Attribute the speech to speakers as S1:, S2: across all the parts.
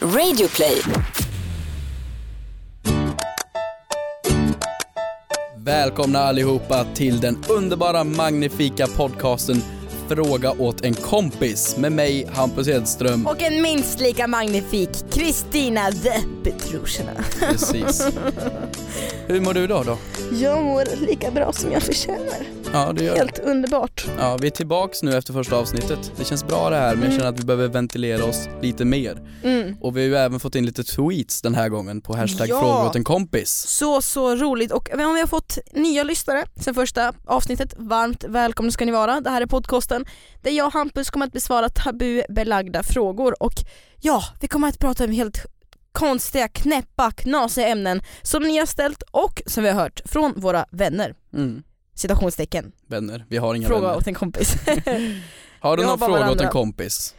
S1: Radioplay.
S2: Välkomna allihopa till den underbara, magnifika podcasten Fråga åt en kompis med mig Hampus Hedström.
S3: Och en minst lika magnifik Kristina the Petrushina.
S2: Precis. Hur mår du idag då?
S3: Jag mår lika bra som jag förtjänar.
S2: Ja, det gör
S3: Helt underbart.
S2: ja, Vi är tillbaks nu efter första avsnittet. Det känns bra det här men jag känner att vi behöver ventilera oss lite mer.
S3: Mm.
S2: Och vi har ju även fått in lite tweets den här gången på hashtag
S3: Ja.
S2: fråga åt en kompis.
S3: Så, så roligt och om vi har fått nya lyssnare sen första avsnittet, varmt välkomna ska ni vara. Det här är podcasten där jag och Hampus kommer att besvara tabubelagda frågor och ja, vi kommer att prata om helt konstiga, knäppa, knasiga ämnen som ni har ställt och som vi har hört från våra vänner.
S2: Mm.
S3: Citationstecken.
S2: Vänner, vi har inga
S3: Fråga
S2: vänner.
S3: åt en kompis.
S2: Har du
S3: Jag
S2: någon
S3: bara
S2: fråga åt en
S3: varandra.
S2: kompis?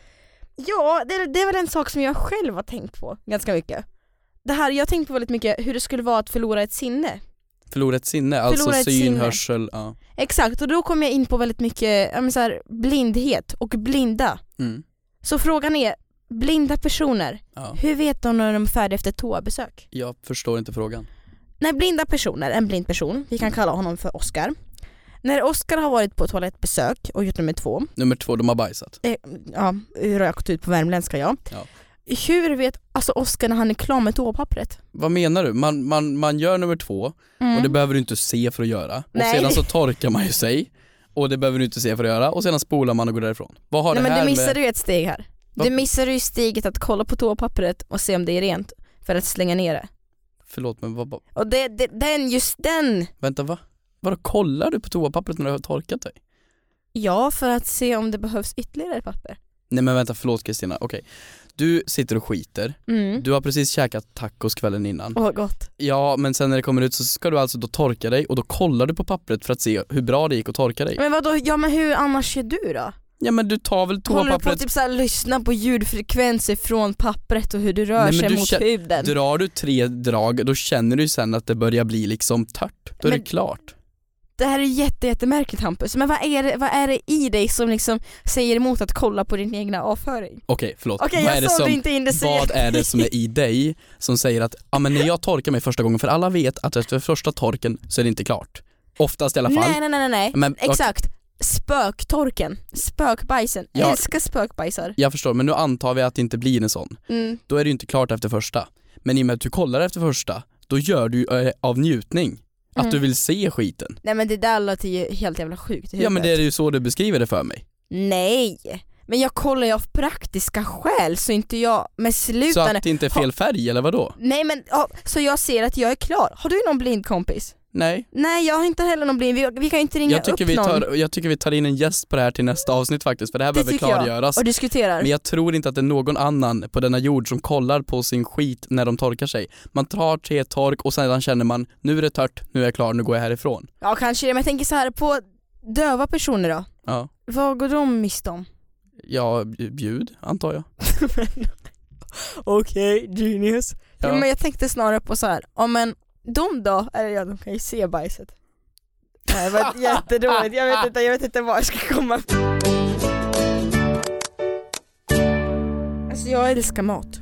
S3: Ja, det, det är väl en sak som jag själv har tänkt på ganska mycket. Det här, jag har tänkt på väldigt mycket hur det skulle vara att förlora ett sinne.
S2: Förlora ett sinne, alltså
S3: Förlora ett
S2: syn,
S3: sinne.
S2: hörsel. Ja.
S3: Exakt, och då kom jag in på väldigt mycket ja, men så här, blindhet och blinda.
S2: Mm.
S3: Så frågan är, blinda personer,
S2: Ja.
S3: hur vet de när de är färdiga efter ett toabesök?
S2: Jag förstår inte frågan.
S3: När blinda personer, en blind person, vi kan kalla honom för Oscar. När Oscar har varit på toalettbesök och gjort nummer två,
S2: Nummer två, de har bajsat.
S3: eh, ja, rökt ut på värmländska ja.
S2: Ja.
S3: Hur vet alltså Oscar när han är klar med toapappret?
S2: Vad menar du? Man, man, man gör nummer två och det behöver du inte se för att göra. Och
S3: Mm. Nej.
S2: sedan så torkar man ju sig och det behöver du inte se för att göra och sedan spolar man och går därifrån. Vad har
S3: Nej
S2: det
S3: men
S2: här
S3: du missar
S2: med...
S3: ju ett steg här.
S2: Va?
S3: Du missar ju steget att kolla på toapapperet och se om det är rent för att slänga ner det.
S2: Förlåt men vad, vad...
S3: Och det, det, den, just den!
S2: vänta va? Vadå kollar du på toapappret när du har torkat dig?
S3: Ja, för att se om det behövs ytterligare papper.
S2: Nej men vänta förlåt Kristina, okej. Du sitter och skiter,
S3: Mm.
S2: du har precis käkat tacos kvällen innan.
S3: Åh gott.
S2: Ja men sen när det kommer ut så ska du alltså då torka dig och då kollar du på pappret för att se hur bra det gick att torka dig.
S3: Men vadå, ja men hur annars gör du då?
S2: Ja men du tar väl
S3: Håller du på
S2: toapappret
S3: att typ såhär lyssna på ljudfrekvenser från pappret och hur du rör
S2: Nej, men
S3: sig
S2: du
S3: mot
S2: kä-
S3: huden?
S2: Drar du tre drag, då känner du ju sen att det börjar bli liksom tört. Då är
S3: Men-
S2: det klart.
S3: Det här är jätte, jättemärkligt Hampus, men vad är, det, vad är det i dig som liksom säger emot att kolla på din egna avföring?
S2: Okej, förlåt.
S3: Okej
S2: vad, är det
S3: jag sålde
S2: som,
S3: inte in det så
S2: vad är det som är i dig som säger att ja men när jag torkar mig första gången, för alla vet att efter första torken så är det inte klart. Oftast i alla fall.
S3: Nej nej nej nej, nej.
S2: Men, okej,
S3: Exakt, spöktorken, spökbajsen,
S2: Ja.
S3: älskar spökbajsar.
S2: Jag förstår, men nu antar vi att det inte blir en sån.
S3: Mm.
S2: Då är det ju inte klart efter första. Men i och med att du kollar efter första, då gör du ju, eh, av njutning. Att
S3: Mm.
S2: du vill se skiten.
S3: Nej men det där låter ju helt jävla sjukt i
S2: Ja men det är
S3: huvudet.
S2: ju så du beskriver det för mig.
S3: Nej! Men jag kollar ju av praktiska skäl så inte jag, men
S2: Så
S3: sluta nu.
S2: att det inte är fel färg eller vad då?
S3: Nej men, ja, så jag ser att jag är klar. Har du någon blind kompis?
S2: Nej.
S3: Nej jag har inte heller någon blind, vi, vi kan ju inte ringa
S2: Jag tycker,
S3: upp
S2: vi
S3: någon
S2: tar, jag tycker vi tar in en gäst på det här till nästa avsnitt faktiskt för det här
S3: Det
S2: behöver
S3: tycker jag.
S2: klargöras.
S3: och diskuterar.
S2: Men jag tror inte att det är någon annan på denna jord som kollar på sin skit när de torkar sig. Man tar tre tork och sedan känner man nu är det tört, nu är jag klar, nu går jag härifrån.
S3: Ja kanske det, men jag tänker så här på döva personer då.
S2: Ja,
S3: Vad går de miste om?
S2: ja bj- bjud antar jag.
S3: Okej, genius. Ja.
S2: Ja.
S3: men jag tänkte snarare på så här, ja men de då, eller ja de kan ju se bajset. Nej, det var jätteroligt, jag vet, inte, jag vet inte var jag ska komma. Alltså jag älskar mat.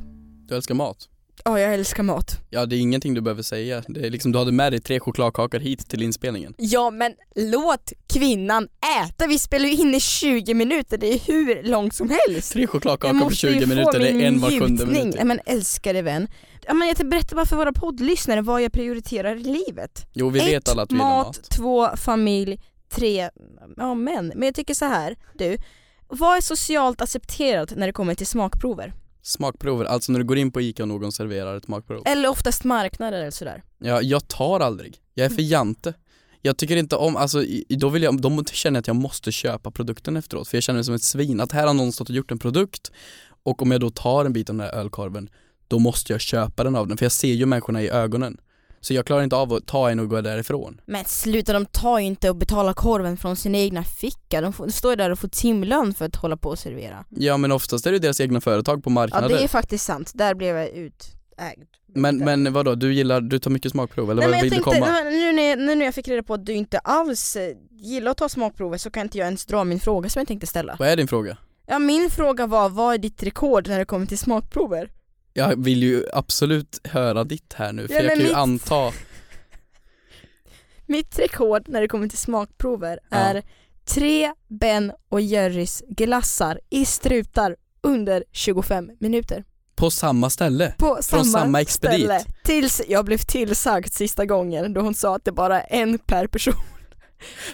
S2: Du älskar mat.
S3: Ja jag älskar mat.
S2: Ja det är ingenting du behöver säga. Det är liksom, du hade med dig tre chokladkakor hit till inspelningen.
S3: Ja men låt kvinnan äta, vi spelar ju in i 20 minuter, det är hur långt som helst.
S2: Tre
S3: Jag
S2: chokladkakor på
S3: måste ju
S2: 20
S3: få
S2: minuter, det
S3: min
S2: är en var sjunde
S3: njutning.
S2: minut.
S3: Nej, men älskade vän. Ja, men jag berättar bara för våra poddlyssnare vad jag prioriterar i livet.
S2: Jo vi vet alla att vi gillar
S3: mat,
S2: mat.
S3: två, familj, tre, ja män. Men jag tycker så här, du. Vad är socialt accepterat när det kommer till smakprover?
S2: Smakprover, alltså när du går in på ICA och någon serverar ett smakprov.
S3: Eller oftast marknader eller sådär.
S2: Ja, jag tar aldrig. Jag är för
S3: Mm.
S2: jante. Jag tycker inte om, alltså i- då, vill jag, då känner jag att jag måste köpa produkten efteråt för jag känner mig som ett svin. Att här har någon stått och gjort en produkt och om jag då tar en bit av den här ölkorven då måste jag köpa den av den för jag ser ju människorna i ögonen. Så jag klarar inte av att ta en och gå därifrån.
S3: Men sluta, de tar ju inte och betalar korven från sin egna ficka. De, får, de står ju där och får timlön för att hålla på och servera.
S2: Ja men oftast är det deras egna företag på
S3: Ja
S2: marknader.
S3: det är faktiskt sant, där blev jag utägd.
S2: men, men vadå, du gillar, du tar mycket smakprov eller
S3: Nej,
S2: vad
S3: men jag
S2: vill
S3: tänkte,
S2: du komma?
S3: nej, men nu, när, nu när jag fick reda på att du inte alls eh, gillar att ta smakprover så kan inte jag ens dra min fråga som jag tänkte ställa.
S2: Vad är din fråga?
S3: Ja min fråga var, vad är ditt rekord när det kommer till smakprover?
S2: Jag vill ju absolut höra ditt här nu för
S3: Ja,
S2: jag
S3: men
S2: kan ju
S3: mitt-
S2: anta
S3: Mitt rekord när det kommer till smakprover är tre Ben och Jerrys glassar i strutar under 25 minuter.
S2: på samma ställe.
S3: På samma,
S2: samma expedit.
S3: ställe. Tills jag blev tillsagd sista gången då hon sa att det bara är en per person.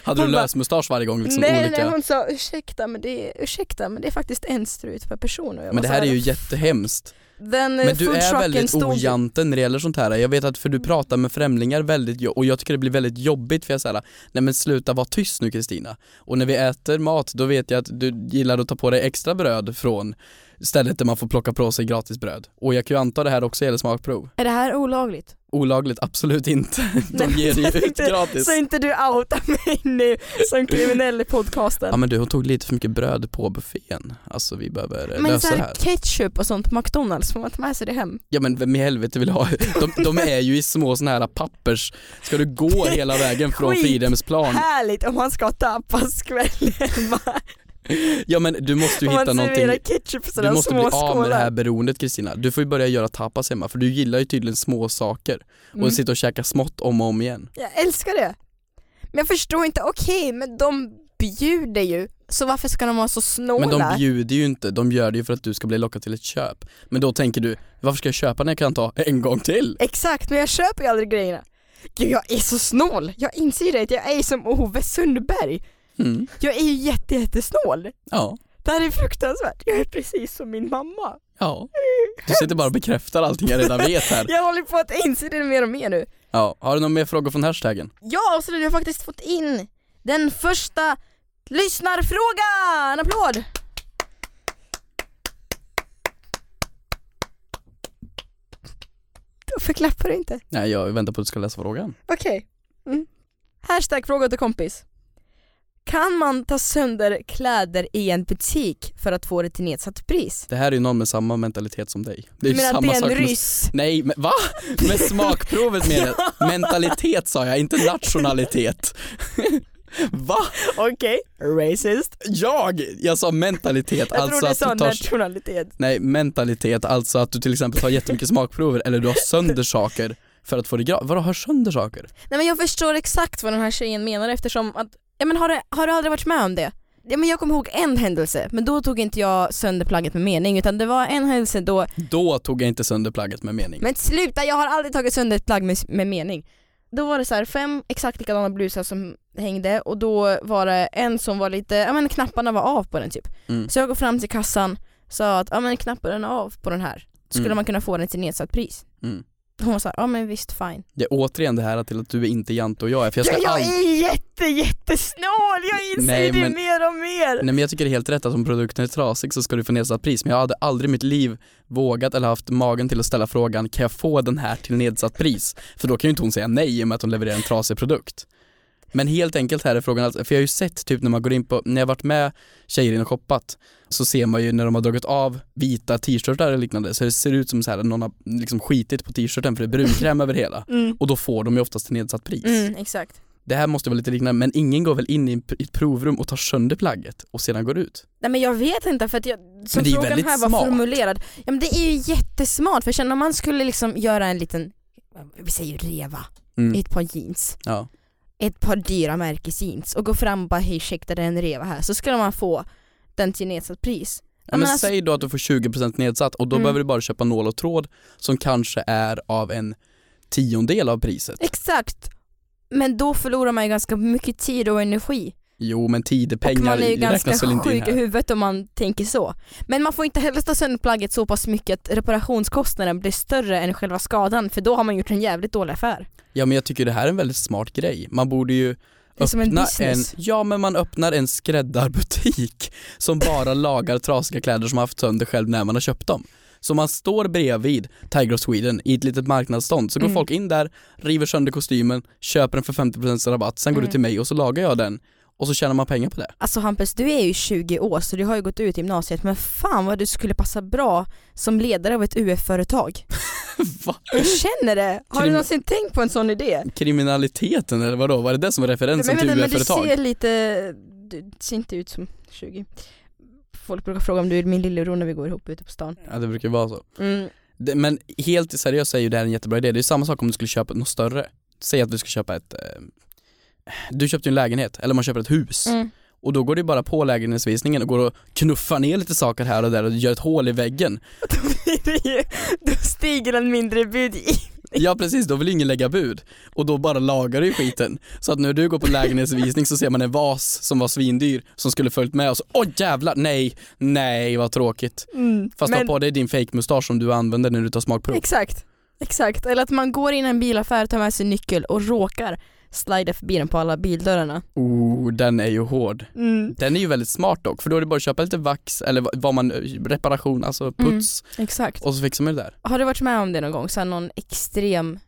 S2: Hade
S3: Hon
S2: du
S3: bara-
S2: lösmustasch varje gång liksom
S3: nej,
S2: olika?
S3: nej, hon sa ursäkta men, det är, ursäkta men det är faktiskt en strut per person. Och
S2: Men
S3: jag var
S2: det
S3: så
S2: här är ju jättehemskt.
S3: Den eh,
S2: Men du är
S3: foodtrucken
S2: väldigt
S3: stod-
S2: ojante när det gäller sånt här. Jag vet att för du pratar med främlingar väldigt jo- och jag tycker det blir väldigt jobbigt för jag säger nej men sluta vara tyst nu Kristina. Och när vi äter mat då vet jag att du gillar att ta på dig extra bröd från stället där man får plocka på sig gratis bröd. Och jag kan ju anta det här också gäller smakprov.
S3: Är det här olagligt?
S2: Olagligt absolut inte. De
S3: Nej,
S2: ger det
S3: jag
S2: ju ut
S3: tänkte-
S2: gratis.
S3: Så inte du outar mig nu som kriminell i podcasten.
S2: Ja men du hon tog lite för mycket bröd på buffén. Alltså vi behöver eh,
S3: Men
S2: lösa
S3: så
S2: det
S3: här
S2: här.
S3: ketchup och sånt på McDonalds, får man ta med sig det hem?
S2: Ja men vem i helvete vill ha de, de är ju i små såna här pappers. Ska du gå hela vägen från
S3: Skit.
S2: Fridhemsplan?
S3: Härligt om man ska tappas kvällen va?
S2: Ja men du måste ju
S3: Om man
S2: hitta någonting.
S3: serverar ketchup i
S2: Du
S3: sådana
S2: måste bli
S3: små
S2: av med det här
S3: skålar.
S2: beroendet Kristina. Du får ju börja göra tapas hemma för du gillar ju tydligen små saker
S3: Mm.
S2: och sitta och käka smått om och om igen.
S3: Jag älskar det. Men jag förstår inte, okej men de bjuder ju, så varför ska de vara så snåla?
S2: Men de bjuder ju inte, de gör det ju för att du ska bli lockad till ett köp. Men då tänker du, varför ska jag köpa när jag kan ta en gång till?
S3: Exakt, men jag köper ju aldrig grejerna. Gud jag är så snål, jag inser ju det, att jag är som Ove Sundberg.
S2: Mm.
S3: Jag är ju jätte, jättesnål.
S2: Ja,
S3: Det här är fruktansvärt, jag är precis som min mamma.
S2: ja. Du sitter bara och bekräftar allting jag redan vet här.
S3: Jag håller på att inse det mer och mer nu.
S2: Ja, har du några mer frågor från hashtaggen?
S3: Ja, absolut. Jag har faktiskt fått in den första lyssnarfrågan! En applåd! Varför klappar du inte?
S2: Nej, jag väntar på att du ska läsa frågan.
S3: Okej. Mm. Hashtag fråga till kompis. Kan man ta sönder kläder i en butik för att få det till nedsatt pris?
S2: Det här är ju någon med samma mentalitet som dig. Det är
S3: Du
S2: ju
S3: menar att
S2: samma
S3: det är
S2: sak
S3: en
S2: med-
S3: ryss?
S2: Nej, men va? Med smakprovet menar jag. Mentalitet sa jag, inte nationalitet. va?
S3: Okej, racist.
S2: Jag? Jag sa mentalitet,
S3: Jag
S2: alltså
S3: tror du
S2: att
S3: sa
S2: du tar...
S3: nationalitet.
S2: Nej, mentalitet, alltså att du till exempel tar jättemycket smakprover eller du har sönder saker för att få det gratis. Vadå, har sönder saker?
S3: Nej men jag förstår exakt vad den här tjejen menar eftersom att, ja men har du, har du aldrig varit med om det? Ja, men jag kommer ihåg en händelse, men då tog inte jag sönder plagget med mening utan det var en händelse då,
S2: Då tog jag inte sönder plagget med mening.
S3: men sluta jag har aldrig tagit sönder ett plagg med, med mening. Då var det så här fem exakt likadana blusar som hängde och då var det en som var lite, ja men knapparna var av på den typ.
S2: Mm.
S3: Så jag går fram till kassan, sa att ja men knapparna är av på den här, skulle
S2: Mm.
S3: man kunna få den till nedsatt pris?
S2: Mm.
S3: Hon var så här, ja men visst fine.
S2: Det är återigen det här till att du är inte Jante och jag är, för jag ska
S3: ja, jag
S2: aldrig...
S3: är jätte, jättesnål, jag inser
S2: Nej,
S3: det
S2: men-
S3: mer och mer.
S2: Nej men jag tycker det är helt rätt att om produkten är trasig så ska du få nedsatt pris men jag hade aldrig i mitt liv vågat eller haft magen till att ställa frågan kan jag få den här till nedsatt pris? För då kan ju inte hon säga nej i och med att hon levererar en trasig produkt. Men helt enkelt här är frågan, alltså, för jag har ju sett typ när man går in på, när jag varit med tjejer in och shoppat så ser man ju när de har dragit av vita t-shirtar eller liknande så det ser ut som så här att någon har liksom skitit på t-shirten för det är brunkräm över hela
S3: Mm.
S2: och då får de ju oftast till nedsatt pris.
S3: Mm, exakt.
S2: Det här måste vara lite liknande men ingen går väl in i en- i ett provrum och tar sönder plagget och sedan går ut?
S3: Nej men jag vet inte för att jag, som
S2: det är ju
S3: frågan
S2: väldigt
S3: här var
S2: smart.
S3: formulerad. Ja men det är ju jättesmart för sen om man skulle liksom göra en liten, vi säger ju reva,
S2: Mm.
S3: i ett par jeans.
S2: Ja.
S3: Ett par dyra märkesjeans och gå fram och bara hej ursäkta det är en reva här så skulle man få den till nedsatt pris.
S2: Ja, men
S3: men alltså-
S2: säg då att du får 20% nedsatt och då
S3: Mm.
S2: behöver du bara köpa nål och tråd som kanske är av en tiondel av priset.
S3: Exakt. Men då förlorar man ju ganska mycket tid och energi.
S2: Jo men tid är pengar
S3: och man är ju ganska
S2: räknas väl inte in
S3: sjuk i
S2: här.
S3: huvudet om man tänker så. Men man får inte heller ta sönder plagget så pass mycket att reparationskostnaden blir större än själva skadan för då har man gjort en jävligt dålig affär.
S2: Ja men jag tycker det här är en väldigt smart grej. Man borde ju
S3: Det är som en
S2: öppna
S3: business.
S2: ja men man öppnar en skräddarbutik som bara lagar trasiga kläder som man haft sönder själv när man har köpt dem. Så man står bredvid Tiger of Sweden i ett litet marknadsstånd så går
S3: Mm.
S2: folk in där, river sönder kostymen, köper den för 50% rabatt, sen går
S3: Mm.
S2: du till mig och så lagar jag den och så tjänar man pengar på det.
S3: Alltså Hampus, du är ju 20 år så du har ju gått ut gymnasiet men fan vad du skulle passa bra som ledare av ett UF-företag.
S2: Va?
S3: Jag känner det! Har du
S2: Krim-
S3: någonsin tänkt på en sån idé?
S2: kriminaliteten eller vadå? Var det det som var referensen till
S3: men, men du
S2: UF-företag?
S3: ser lite, du ser inte ut som 20. Folk brukar fråga om du är min lillebror när vi går ihop ute på stan.
S2: Ja det brukar ju vara så.
S3: Mm.
S2: Det, men helt seriöst så är ju det här en jättebra idé. Det är samma sak om du skulle köpa något större. Säg att du ska köpa ett, eh, du köpte ju en lägenhet, eller man köper ett hus.
S3: Mm.
S2: Och då går du bara på lägenhetsvisningen och går och knuffar ner lite saker här och där och gör ett hål i väggen.
S3: Då, blir det ju, då stiger en mindre bud i.
S2: Ja precis, då vill ingen lägga bud. Och då bara lagar du ju skiten. Så att när du går på lägenhetsvisning så ser man en vas som var svindyr som skulle följt med och så, åh jävlar, nej, nej vad tråkigt.
S3: Mm.
S2: Fast
S3: Men-
S2: ha på dig din fake mustasch som du använder när du tar smakprov.
S3: Exakt, exakt. Eller att man går in i en bilaffär, tar med sig nyckel och råkar slida förbi den på alla bildörrarna.
S2: Oh, den är ju hård.
S3: Mm.
S2: Den är ju väldigt smart dock, för då är det bara att köpa lite vax eller vad- vad man, eh, reparation, alltså
S3: Mm.
S2: puts
S3: Exakt.
S2: och så fixar man det där.
S3: Har du varit med om det någon gång? Så här någon extrem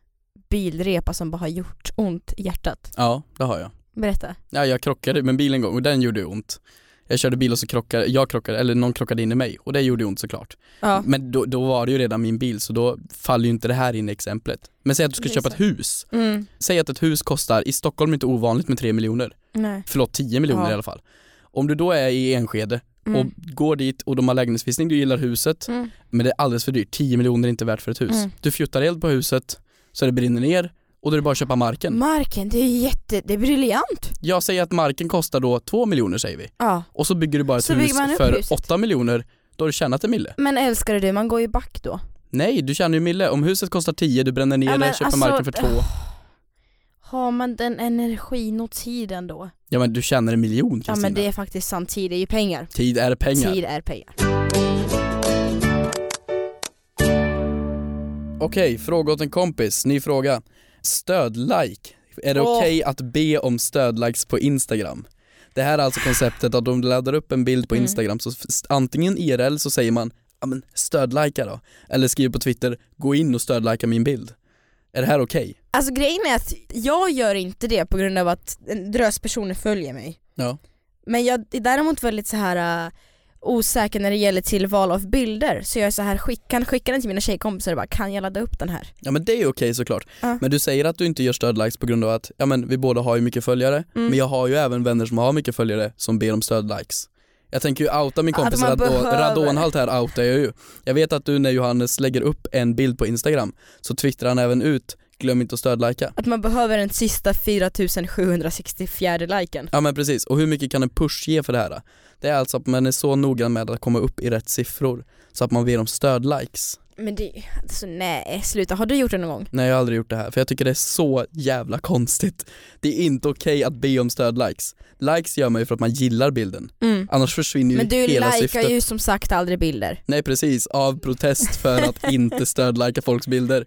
S3: bilrepa som bara har gjort ont i hjärtat?
S2: Ja, det har jag.
S3: Berätta.
S2: Ja, jag krockade med en bil en gång och den gjorde ju ont. Jag körde bil och så krockade, jag krockade, eller någon krockade in i mig och det gjorde ju ont såklart.
S3: Ja.
S2: Men då, då var det ju redan min bil så då faller ju inte det här in i exemplet. Men säg att du ska
S3: Det är
S2: köpa
S3: så.
S2: ett hus.
S3: Mm.
S2: Säg att ett hus kostar, i Stockholm är det inte ovanligt med 3 miljoner,
S3: Nej.
S2: förlåt 10 miljoner
S3: Ja.
S2: i alla fall. Om du då är i Enskede
S3: Mm.
S2: och går dit och de har lägenhetsvisning, du gillar huset,
S3: Mm.
S2: Men det är alldeles för dyrt, 10 miljoner är inte värt för ett hus.
S3: Mm.
S2: Du fjuttar eld på huset så det brinner ner och då är det bara att köpa marken.
S3: Marken, det är jätte, det är briljant.
S2: Jag säger att marken kostar då 2 miljoner säger vi.
S3: Ja.
S2: Och så bygger du bara ett
S3: Så
S2: hus
S3: bygger man upp
S2: för
S3: huset.
S2: 8 miljoner, då har du tjänat en mille.
S3: Men älskade du, man går ju back då.
S2: Nej, du tjänar ju en mille. Om huset kostar 10, du bränner ner
S3: Ja,
S2: det,
S3: men
S2: köper
S3: alltså,
S2: marken för 2.
S3: Har man den energin och tiden då?
S2: Ja men du tjänar en miljon
S3: Ja
S2: Kristina.
S3: men det är faktiskt sant, tid är ju pengar.
S2: Tid är pengar.
S3: Tid är pengar.
S2: Okej, fråga åt en kompis, ny fråga. Stödlike, är det
S3: Åh.
S2: okej att be om stödlikes på Instagram? Det här är alltså konceptet att om du laddar upp en bild på
S3: Mm.
S2: Instagram så f- antingen IRL så säger man ja men stödlika då, eller skriver på Twitter gå in och stödlika min bild. Är det här okej?
S3: Alltså grejen är att jag gör inte det på grund av att en drös personer följer mig.
S2: Ja.
S3: Men jag är däremot väldigt så här äh, osäker när det gäller till val av bilder. Så jag är så här, skick, kan skicka den till mina tjejkompisar och bara kan jag ladda upp den här?
S2: Ja men det är okej såklart.
S3: Ja.
S2: Men du säger att du inte gör stödlikes på grund av att ja men vi båda har ju mycket följare,
S3: Mm.
S2: men jag har ju även vänner som har mycket följare som ber om stödlikes. Jag tänker ju outa min
S3: Att
S2: kompis
S3: alltså, man
S2: rado-
S3: behöver.
S2: radonhalt här outar jag ju. Jag vet att du när Johannes lägger upp en bild på Instagram så twittrar han även ut glöm inte att stödlika.
S3: Att man behöver den sista 4764 liken.
S2: Ja men precis, och hur mycket kan en push ge för det här? Det är alltså att man är så noggrann med att komma upp i rätt siffror så att man ber om stödlikes.
S3: Men det, alltså nej sluta, har du gjort det någon gång?
S2: Nej jag har aldrig gjort det här för jag tycker det är så jävla konstigt. Det är inte okej att be om stödlikes. Likes gör man ju för att man gillar bilden, annars försvinner ju
S3: Mm. Men du
S2: hela
S3: likar
S2: syftet.
S3: ju som sagt aldrig bilder.
S2: Nej precis, av protest för att inte stödlika folks bilder.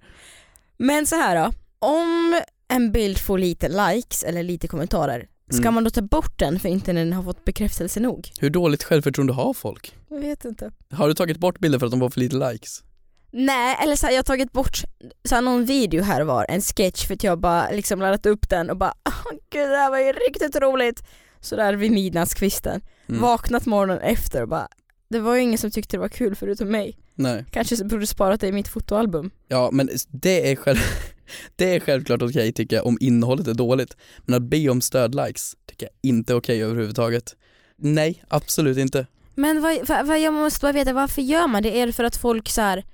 S3: Men så här då, om en bild får lite likes eller lite kommentarer, ska
S2: Mm.
S3: man då ta bort den för inte när den har fått bekräftelse nog?
S2: Hur dåligt självförtroende har folk?
S3: Jag vet inte.
S2: Har du tagit bort bilder för att de får för lite likes?
S3: Nej, eller så här, jag har tagit bort så här, någon video här och var, en sketch för att jag bara liksom laddat upp den och bara åh gud det här var ju riktigt roligt. Så där vid midnattskvisten.
S2: Mm.
S3: Vaknat morgonen efter och bara det var ju ingen som tyckte det var kul förutom mig.
S2: Nej.
S3: Kanske så borde sparat det i mitt fotoalbum.
S2: Ja men det är, själv... det är självklart okej tycker jag om innehållet är dåligt. Men att be om stödlikes tycker jag inte är okej överhuvudtaget. Nej, absolut inte.
S3: Men vad, vad, vad jag måste bara veta, varför gör man det? Är det för att folk så här,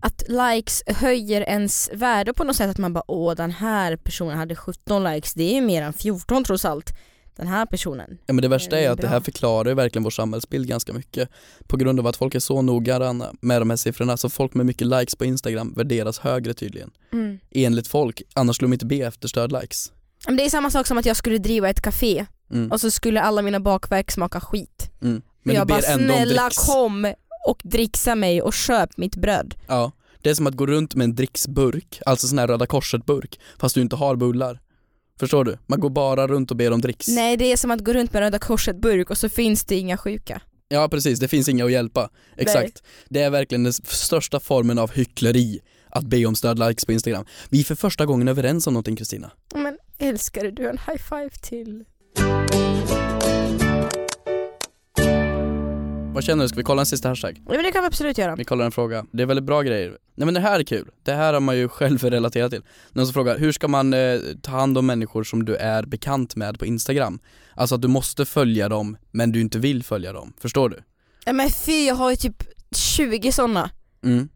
S3: att likes höjer ens värde på något sätt? Att man bara åh den här personen hade 17 likes, det är ju mer än 14 trots allt. Den här personen.
S2: Ja, men det värsta
S3: Det är
S2: är att det
S3: bra.
S2: här förklarar ju verkligen vår samhällsbild ganska mycket. På grund av att folk är så noggranna med de här siffrorna så folk med mycket likes på Instagram värderas högre tydligen.
S3: Mm.
S2: Enligt folk, annars skulle de inte be efter stödlikes.
S3: Men det är samma sak som att jag skulle driva ett café
S2: Mm.
S3: och så skulle alla mina bakverk smaka skit.
S2: Mm.
S3: Men
S2: Men
S3: jag
S2: du
S3: bara
S2: ber ändå om
S3: snälla
S2: dricks.
S3: kom och dricksa mig och köp mitt bröd.
S2: Ja. Det är som att gå runt med en dricksburk, alltså sån här Röda Korset-burk, fast du inte har bullar. Förstår du? Man går bara runt och ber om dricks.
S3: Nej det är som att gå runt med Röda Korset burk och så finns det inga sjuka.
S2: Ja precis, det finns inga att hjälpa. Exakt. Det är verkligen den s- största formen av hyckleri att be om stödlikes på Instagram. Vi är för första gången överens om någonting Kristina.
S3: Men älskade du en high five till?
S2: Vad känner du? Ska vi kolla en sista hashtag?
S3: Ja, men det kan vi absolut göra.
S2: Vi kollar en fråga. Det är väldigt bra grejer. Nej men det här är kul. Det här har man ju själv relaterat till. Någon som frågar, hur ska man eh, ta hand om människor som du är bekant med på Instagram? Alltså att du måste följa dem, men du inte vill följa dem. Förstår du?
S3: Nej men fy jag har ju typ 20 sådana.
S2: Mm.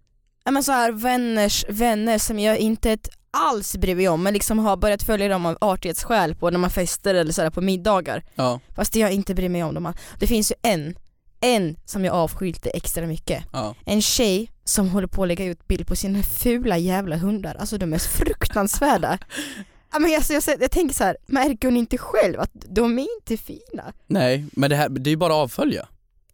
S3: ja, men så här vänners vänner som jag inte ett alls bryr mig om men liksom har börjat följa dem av artighetsskäl på när man fester eller så här på middagar.
S2: Ja,
S3: Fast jag inte bryr mig om dem alls. Det finns ju en, en som jag avskyllt extra mycket.
S2: ja.
S3: En tjej som håller på att lägga ut bild på sina fula jävla hundar, alltså de är så fruktansvärda. Ja, men alltså, jag, jag, jag tänker så här, märker hon inte själv att de är inte fina?
S2: Nej, men det här, det är ju bara att avfölja.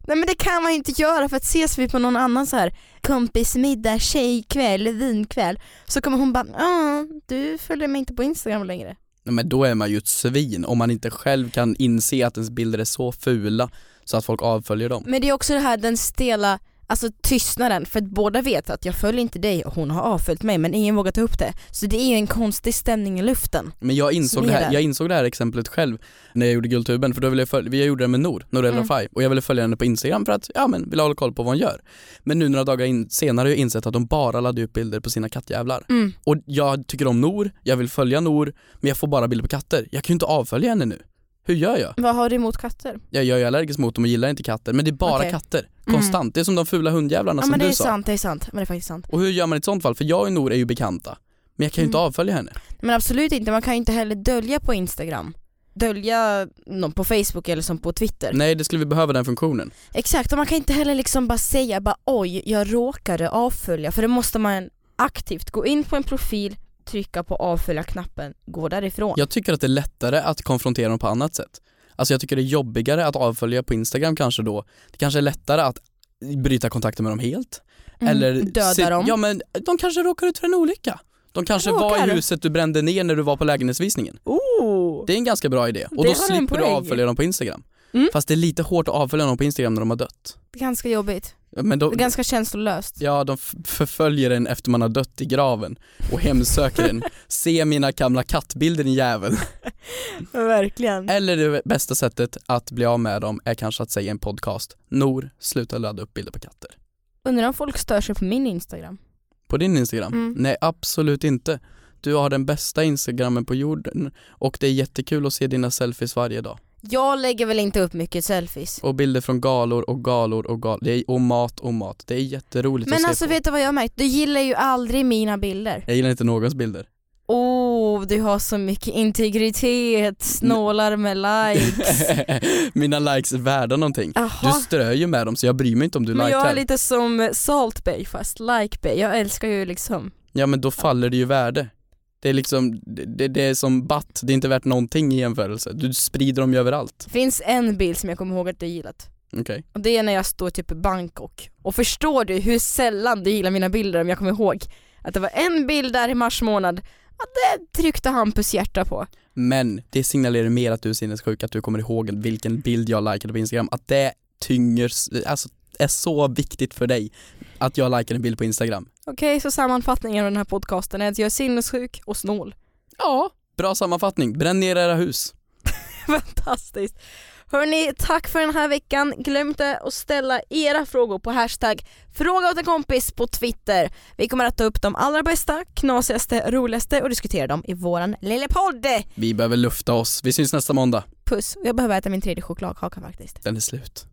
S3: Nej men det kan man ju inte göra för att ses vi på någon annan så här kompismiddag, tjejkväll, vinkväll så kommer hon bara "Ah, du följer mig inte på Instagram längre.
S2: Nej, Men då är man ju ett svin om man inte själv kan inse att ens bilder är så fula så att folk avföljer dem.
S3: Men det är också det här den stela Alltså tystnaden, för att båda vet att jag följer inte dig och hon har avföljt mig men ingen vågar ta upp det. Så det är ju en konstig stämning i luften.
S2: Men jag insåg,
S3: Som är
S2: det här,
S3: där.
S2: jag insåg det här exemplet själv när jag gjorde Guldtuben för då ville jag följa, jag gjorde det med Nor, Nour El
S3: Mm.
S2: Rafai och jag ville följa henne på Instagram för att, ja men vill hålla koll på vad hon gör. Men nu några dagar in, senare har jag insett att de bara laddar upp bilder på sina kattjävlar.
S3: Mm.
S2: Och jag tycker om Nor, jag vill följa Nor, men jag får bara bilder på katter. Jag kan ju inte avfölja henne nu. Hur gör jag?
S3: Vad har du emot katter?
S2: Jag, jag är allergisk mot dem och gillar inte katter, men det är bara
S3: Okej. Mm.
S2: katter. Konstant. Det är som de fula hundjävlarna
S3: ja
S2: som
S3: men det
S2: du
S3: är
S2: sa.
S3: sant, det är sant. Men det är faktiskt sant.
S2: Och hur gör man i ett sånt fall? För jag och Nor är ju bekanta. Men jag kan ju inte
S3: Mm.
S2: avfölja henne.
S3: Men absolut inte, man kan ju inte heller dölja på Instagram. Dölja någon på Facebook eller som på Twitter.
S2: Nej, det skulle vi behöva den funktionen.
S3: Exakt, och man kan inte heller liksom bara säga bara oj, jag råkade avfölja för då måste man aktivt gå in på en profil, trycka på avfölja-knappen, gå därifrån.
S2: Jag tycker att det är lättare att konfrontera dem på annat sätt. Alltså jag tycker det är jobbigare att avfölja på Instagram kanske då. Det kanske är lättare att bryta kontakten med dem helt.
S3: Mm,
S2: Eller
S3: Döda
S2: se-
S3: dem.
S2: Ja men de kanske råkar ut för en olycka. De kanske var i
S3: Råkar?
S2: huset du brände ner när du var på lägenhetsvisningen.
S3: Oh.
S2: Det är en ganska bra idé. Och
S3: Det
S2: då
S3: har en
S2: slipper du
S3: poäng.
S2: avfölja dem på Instagram.
S3: Mm.
S2: Fast det är lite hårt att avfölja dem på Instagram när de har dött.
S3: Det är ganska jobbigt,
S2: Men då,
S3: det är ganska känslolöst.
S2: Ja, de f- förföljer en efter man har dött i graven och hemsöker en. Se mina gamla kattbilder din jävel.
S3: Verkligen.
S2: Eller det bästa sättet att bli av med dem är kanske att säga i en podcast. Nor, sluta ladda upp bilder på katter.
S3: Undrar om folk stör sig på min Instagram?
S2: På din Instagram?
S3: Mm.
S2: Nej, absolut inte. Du har den bästa Instagrammen på jorden och det är jättekul att se dina selfies varje dag.
S3: Jag lägger väl inte upp mycket selfies.
S2: Och bilder från galor och galor och galor. Det är, och mat och mat. Det är jätteroligt att
S3: Men
S2: se
S3: alltså
S2: på.
S3: vet du vad jag har märkt? Du gillar ju aldrig mina bilder.
S2: Jag gillar inte någons bilder.
S3: Oh, du har så mycket integritet, snålar med likes.
S2: Mina likes är värda någonting. Du
S3: Jaha,
S2: strör ju med dem så jag bryr mig inte om du
S3: men jag är
S2: likar.
S3: lite som Salt Bay fast Like Bay. Jag älskar ju liksom,
S2: Ja men då faller det ju värde. Det är liksom, det, det- det är som batt, det är inte värt någonting i jämförelse. Du sprider dem ju överallt.
S3: det finns en bild som jag kommer ihåg att du gillat.
S2: Okej.
S3: Och det är när jag står typ i Bangkok. Och förstår du hur sällan du gillar mina bilder om jag kommer ihåg att det var en bild där i mars månad, ja, det tryckte Hampus hjärta på.
S2: Men det signalerar mer att du är sinnessjuk, att du kommer ihåg vilken bild jag likade på Instagram. Att det tynger, s- alltså är så viktigt för dig att jag likar en bild på Instagram.
S3: Okej, så sammanfattningen av den här podcasten är att jag är sinnessjuk och snål.
S2: Ja. Bra sammanfattning, bränn ner era hus.
S3: Fantastiskt. Hörni, tack för den här veckan. Glöm inte att ställa era frågor på hashtag fråga åt en kompis på Twitter. Vi kommer att ta upp de allra bästa, knasigaste, roligaste och diskutera dem i våran lilla podd.
S2: Vi behöver lufta oss. Vi syns nästa måndag.
S3: Puss, jag behöver äta min tredje chokladkaka faktiskt.
S2: Den är slut.